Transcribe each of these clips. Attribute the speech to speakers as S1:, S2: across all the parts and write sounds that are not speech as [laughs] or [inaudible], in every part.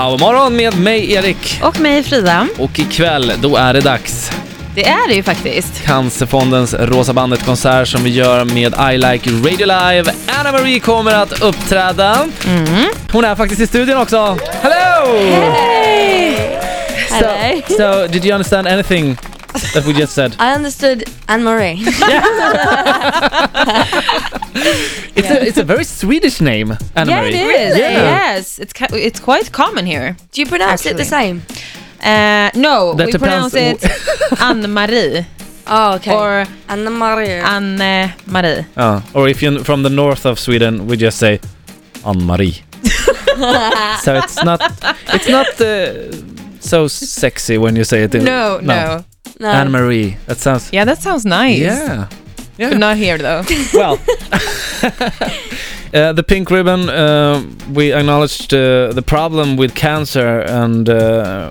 S1: Powermorgon med mig Erik.
S2: Och mig Frida.
S1: Och ikväll, då är det dags.
S2: Det är det ju faktiskt.
S1: Cancerfondens Rosa Bandet-konsert som vi gör med I Like Radio Live. Anna Marie kommer att uppträda.
S3: Mm.
S1: Hon är faktiskt i studion också. Hello!
S3: Hello.
S1: So, so, did you understand anything that we just said?
S3: I understood Anne
S2: [laughs]
S3: Marie.
S1: It's, a, it's a very Swedish name, Anna
S2: Yeah,
S1: Marie.
S2: it is.
S1: Yeah.
S2: Yes, it's ki- it's quite common here.
S3: Do you pronounce it the same?
S2: Uh, no,
S1: That
S2: we
S1: depends-
S2: pronounce it
S1: [laughs]
S2: Anne-Marie
S3: Oh, okay.
S2: or
S3: Anna Marie.
S2: Anne-Marie.
S1: Ja, Ah, or if you're from the north of Sweden, we just say Ann-Marie.
S2: Ah.
S1: so it's not, it's not uh, so sexy when you say it. in-
S2: No, no.
S3: [laughs] no.
S1: Anne-Marie, that sounds...
S2: Yeah, that sounds Uh, nice.
S1: Yeah.
S2: But not here though. [laughs]
S1: Well, [laughs] uh, the pink ribbon, uh, we acknowledged uh, the problem with cancer and... Uh,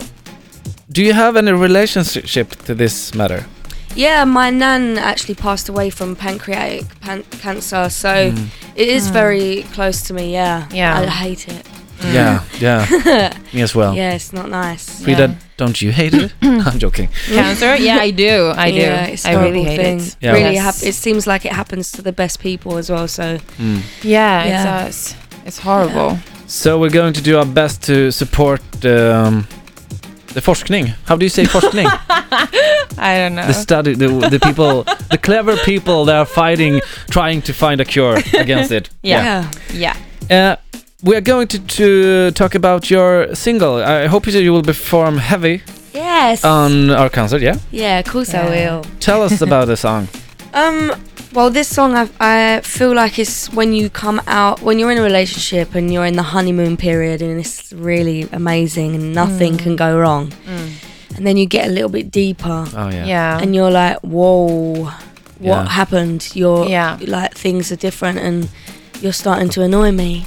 S1: do you have any relationship to this matter?
S3: yeah, my nan actually passed away from pancreatic pan- cancer, so
S1: Hmm. Mm.
S3: it is very close to me. Yeah.
S2: Hmm. Yeah. Oh.
S3: I hate
S2: [laughs]
S3: it.
S2: Mm.
S1: Yeah, yeah. Me as well.
S3: [laughs] Yeah, it's not nice.
S1: Frida,
S2: Yeah.
S1: don't you hate
S2: [clears throat]
S1: it? [laughs] I'm joking.
S3: [laughs]
S2: Cancer? Yeah, I do. I do.
S3: Yeah, it's a
S2: I
S3: horrible
S2: really hate
S3: thing.
S2: it.
S1: Yeah.
S3: Really,
S2: Yes.
S3: hap- it seems like it happens to the best people as well. So
S2: Yeah,
S3: Yeah.
S2: it's us. It's horrible.
S1: So we're going to do our best to support um, the forskning. How do you
S2: [laughs]
S1: say forskning?
S2: I don't know.
S1: the study, the, the people, the clever people that are fighting, trying to find a
S2: [laughs]
S1: cure against it.
S2: Yeah.
S3: yeah.
S2: yeah.
S1: Uh, we are going to, to talk about your single. I hope you will perform heavy
S3: Yes.
S1: on our concert. Yeah.
S3: yeah, of course I
S2: Yeah.
S3: will.
S1: Tell us about the song.
S3: Um. Well, this song I, I feel like it's when you come out when you're in a relationship and you're in the honeymoon period and it's really amazing and nothing can go wrong. And then you get a little bit deeper
S1: Oh yeah.
S2: Yeah.
S3: and you're like, whoa, what
S1: Yeah.
S3: happened? You're
S2: Yeah.
S3: like things are different and you're starting to annoy me.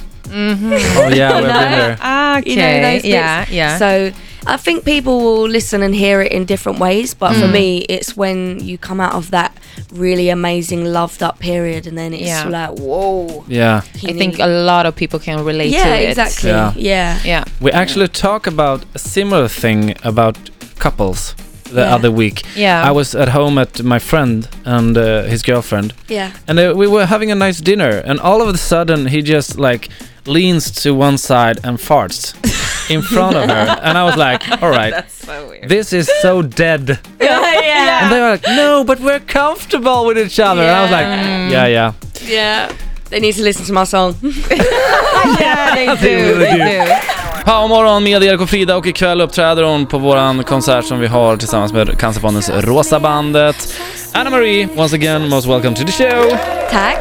S1: [laughs]
S2: Mm-hmm. Ah,
S1: Oh yeah,
S3: [laughs]
S1: we've been there.
S2: [laughs] Okay.
S3: You know those bits.
S2: yeah, yeah.
S3: So I think people will listen and hear it in different ways, but
S2: Mm.
S3: for me, it's when you come out of that really amazing loved up period and then it's
S2: Yeah.
S3: like, whoa.
S1: Yeah.
S2: I think a lot of people can relate
S3: yeah,
S2: to it.
S3: exactly.
S1: Yeah.
S3: Yeah.
S2: Yeah.
S1: We actually talk about a similar thing about couples the
S3: Yeah.
S1: other week.
S2: Yeah. Um, [laughs]
S1: I was at home at my friend and uh, his girlfriend,
S3: yeah,
S1: and uh, we were having a nice dinner. And all of a sudden, he just like leans to one side and farts in front of her. And I was like, "All right,
S2: so weird.
S1: this is so dead."
S2: [laughs] yeah.
S1: And they were like, "No, but we're comfortable with each other." And I was like, "Yeah, yeah."
S3: yeah. They need to listen to my
S2: [laughs]
S3: song.
S1: [laughs]
S2: yeah, they do.
S1: really
S2: They
S1: do.
S2: do.
S1: Powermorgon med Erik och Frida och ikväll uppträder hon på våran konsert som vi har tillsammans med Cancerfondens Rosa Bandet. Anna Marie, once again, most welcome to the show!
S3: Tack.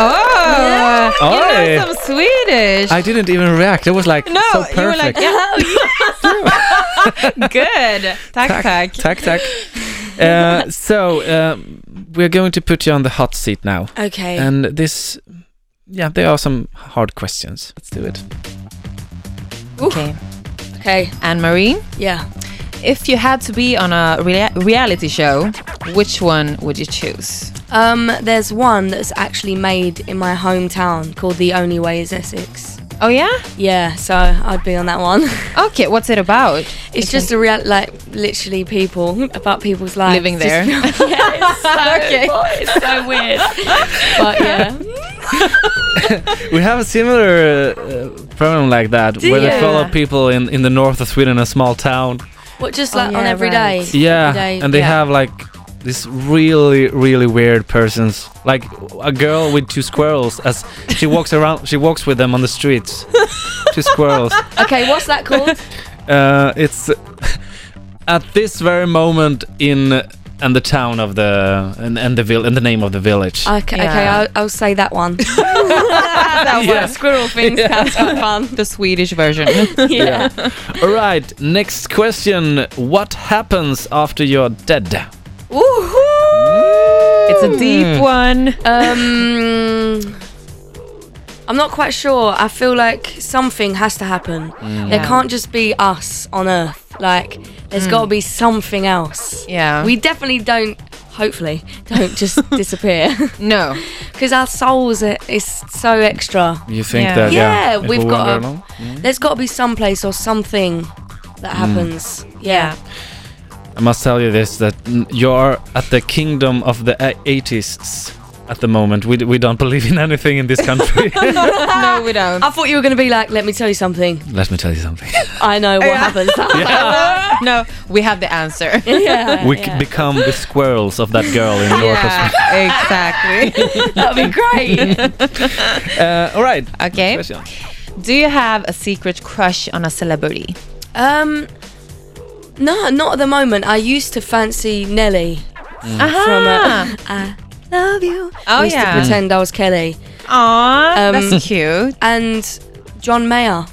S2: Oh, you
S1: Oj.
S2: know some Swedish.
S1: I didn't even react, it was like
S2: no,
S1: so
S2: you were like, "Oh,
S1: perfect.
S2: yeah. [laughs] Good. Tack, tack.
S1: tack, tack. Uh, so, uh, we're going to put you on the hot seat now.
S3: Okay.
S1: And this, yeah, there are some hard questions. Let's do it.
S2: Okay.
S3: okay.
S2: Anne Marie,
S3: Yeah.
S2: if you had to be on a rea- reality show, which one would you choose?
S3: Um, there's one that's actually made in my hometown called The Only Way Is Essex.
S2: Oh, yeah?
S3: Yeah, so I'd be on that one. [laughs]
S2: Okay, what's it about?
S3: It's just a real, like, literally people [laughs] about people's lives
S2: Living
S3: Just-
S2: there.
S3: [laughs] yeah, it's
S2: [laughs]
S3: so, [laughs]
S2: Okay.
S3: It's so
S2: [laughs]
S3: weird. but yeah,
S1: We have a similar uh, problem like that, where they
S3: you?
S1: follow people in, in the north of Sweden, a small town.
S3: what just
S2: Oh,
S3: like on
S2: yeah,
S3: every day.
S2: right.
S1: Yeah,
S3: They-
S1: and they
S2: yeah.
S1: have like this really, really weird persons. Like a girl with two squirrels as she walks around. She walks with them on the streets. two squirrels.
S3: Okay, what's
S2: [laughs]
S3: that called?
S1: Uh, it's at this very moment in and the town of the and, and the vill and the name of the village.
S3: Okay, okay,
S2: Yeah.
S3: I'll, I'll say that one. [laughs]
S2: that
S1: Yeah.
S2: Squirrel things. That's fun. The Swedish version.
S1: [laughs] yeah. All right. Next question. What happens after you're dead?
S2: It's a deep one.
S3: Um, I'm not quite sure. I feel like something has to happen. There
S1: Mm.
S2: Yeah. Mm.
S3: can't just be us on Earth. Like, there's got to be something else.
S2: Yeah.
S3: We definitely don't hopefully don't
S1: [laughs]
S3: just disappear [laughs]
S2: No.
S3: because our souls are, is so extra.
S1: You think
S2: Yeah.
S1: that? Yeah,
S3: Yeah,
S1: it
S3: we've
S1: will
S3: got
S1: wander
S3: a-
S1: along? Mm.
S3: There's got to be some place or something that
S1: Hmm.
S3: happens. Yeah.
S1: I must tell you this: that mm, you are at the kingdom of the a- atheists at the moment. We d- we don't believe in anything in this
S3: [laughs]
S1: country.
S2: [laughs] no, we don't.
S3: I thought you were going to be like, let me tell you something.
S1: Let me tell you
S3: [laughs]
S1: something.
S3: I know what
S2: [laughs] Yeah.
S3: happens. [laughs]
S2: no, we have the answer.
S3: yeah.
S1: [laughs] we c-
S3: yeah.
S1: become the squirrels of that girl in North of
S2: [laughs] exactly.
S3: That'd be great.
S1: Sweden. Uh, all right.
S2: okay.
S1: Question.
S2: Do you have a secret crush on a celebrity?
S3: um, no, not at the moment. I used to fancy Nelly.
S1: Mm.
S3: uh,
S2: Aha.
S3: [laughs] I love you.
S2: Ah. Oh,
S3: I used
S2: yeah.
S3: to pretend I was Kelly.
S2: Aw,
S3: Um,
S2: that's cute.
S3: And John Mayer.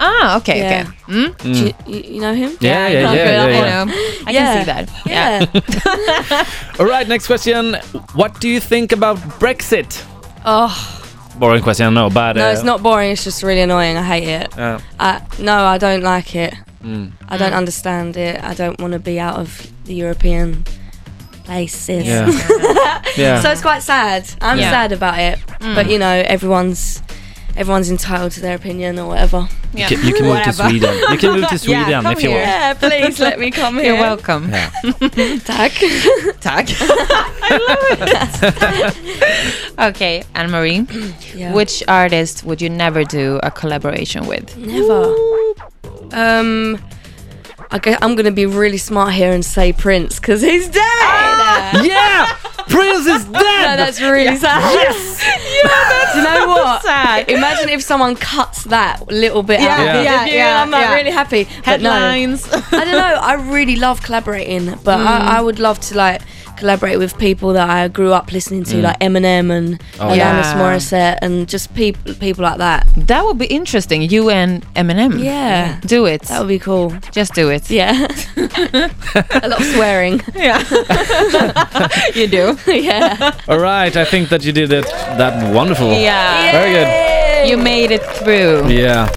S2: Ah, okay,
S3: Yeah.
S2: okay. Mm?
S3: Do you, you you know him?
S1: Hmm. Yeah, yeah, yeah,
S2: Okay,
S1: yeah,
S2: I
S1: yeah.
S2: know. I
S3: Yeah.
S2: can see that. Yeah.
S3: Yeah.
S1: All right. Next question: What do you think about Brexit?
S3: [laughs] oh,
S1: Boring question, I know, but
S3: no,
S1: uh,
S3: it's not boring. It's just really annoying. I hate it.
S1: Uh,
S3: I, no, I don't like it.
S1: mm.
S3: I don't understand it. I don't want to be out of the European places.
S1: Yeah. yeah.
S3: so it's quite sad. I'm
S2: Yeah.
S3: sad about it. But you know, everyone's everyone's entitled to their opinion or whatever.
S1: you,
S2: Yeah.
S1: can, you can move to
S2: Whatever.
S1: Sweden. You can
S2: [laughs]
S1: move to Sweden
S2: come
S1: if you
S2: here.
S1: want.
S3: Yeah, please let me [laughs] come
S2: You're welcome.
S1: Yeah.
S3: Tag. [laughs]
S2: Tack. I love it. [laughs] okay, Anne Marie,
S3: [clears throat] Yeah.
S2: which artist would you never do a collaboration
S3: [laughs]
S2: with?
S3: never. Um, I gu- I'm gonna be really smart here and say Prince because he's dead. Ah!
S1: yeah! Prince
S2: [laughs]
S1: is
S3: No,
S1: dead!
S3: that's really sad.
S1: yes!
S3: Do you know what?
S2: Sad.
S3: Imagine if someone cuts that little bit out.
S1: Yeah,
S2: yeah,
S3: You-
S2: yeah,
S3: I'm like,
S2: yeah.
S3: really happy. [laughs] But no.
S2: Headlines.
S3: I don't know. I really love collaborating, but
S2: Mm.
S3: I, I would love to like collaborate with people that I grew up listening to, like Eminem
S1: Mm.
S3: and
S1: Oh, Mm.
S3: Alanis
S2: yeah.
S3: Morissette, and just people people like that.
S2: [laughs] that would be interesting. You and Eminem.
S3: Yeah,
S2: Do it.
S3: that would be cool.
S2: Just do it. [laughs]
S3: Yeah, [laughs] a lot of swearing.
S1: [laughs]
S3: [laughs]
S2: Yeah. you do.
S3: yeah,
S1: Alright, I think that you did it. That wonderful.
S2: [laughs] Yeah.
S1: Very good.
S2: You made it through.
S1: Yeah.